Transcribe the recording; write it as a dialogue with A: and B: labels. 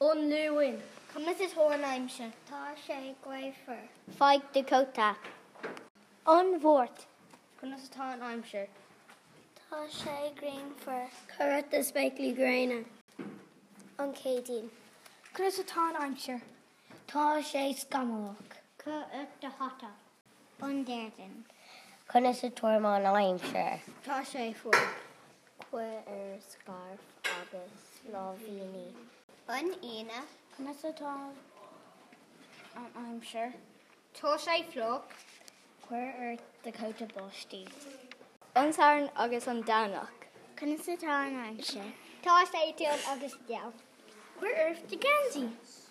A: I'm Lewin.
B: Cymys is hôn aimse. Tá sé gwaiffer.
C: Feig Dakota. Onvort.
B: Cymys is tá aimse.
C: Tá sé Greenfer.
A: Currat is Bakley Grainer.
C: An Cadine.
A: Chris Atan Armshire. Tá sé Scamalach.
C: Currat de Hata. Underden.
D: Conna sa tuaán aimseir.
B: Tá sé fwy.
C: Quir er Scarf agus Slovini.
B: Yn una.
C: Cymys atá an Aimsir.
B: Tá sé fflwc.
C: Quir er Dakota Bosti. Ansaran agus an Danach. Cymys atá an Aimsir.
B: Tá sé dion agus diaw.
C: Quir er de Genzi.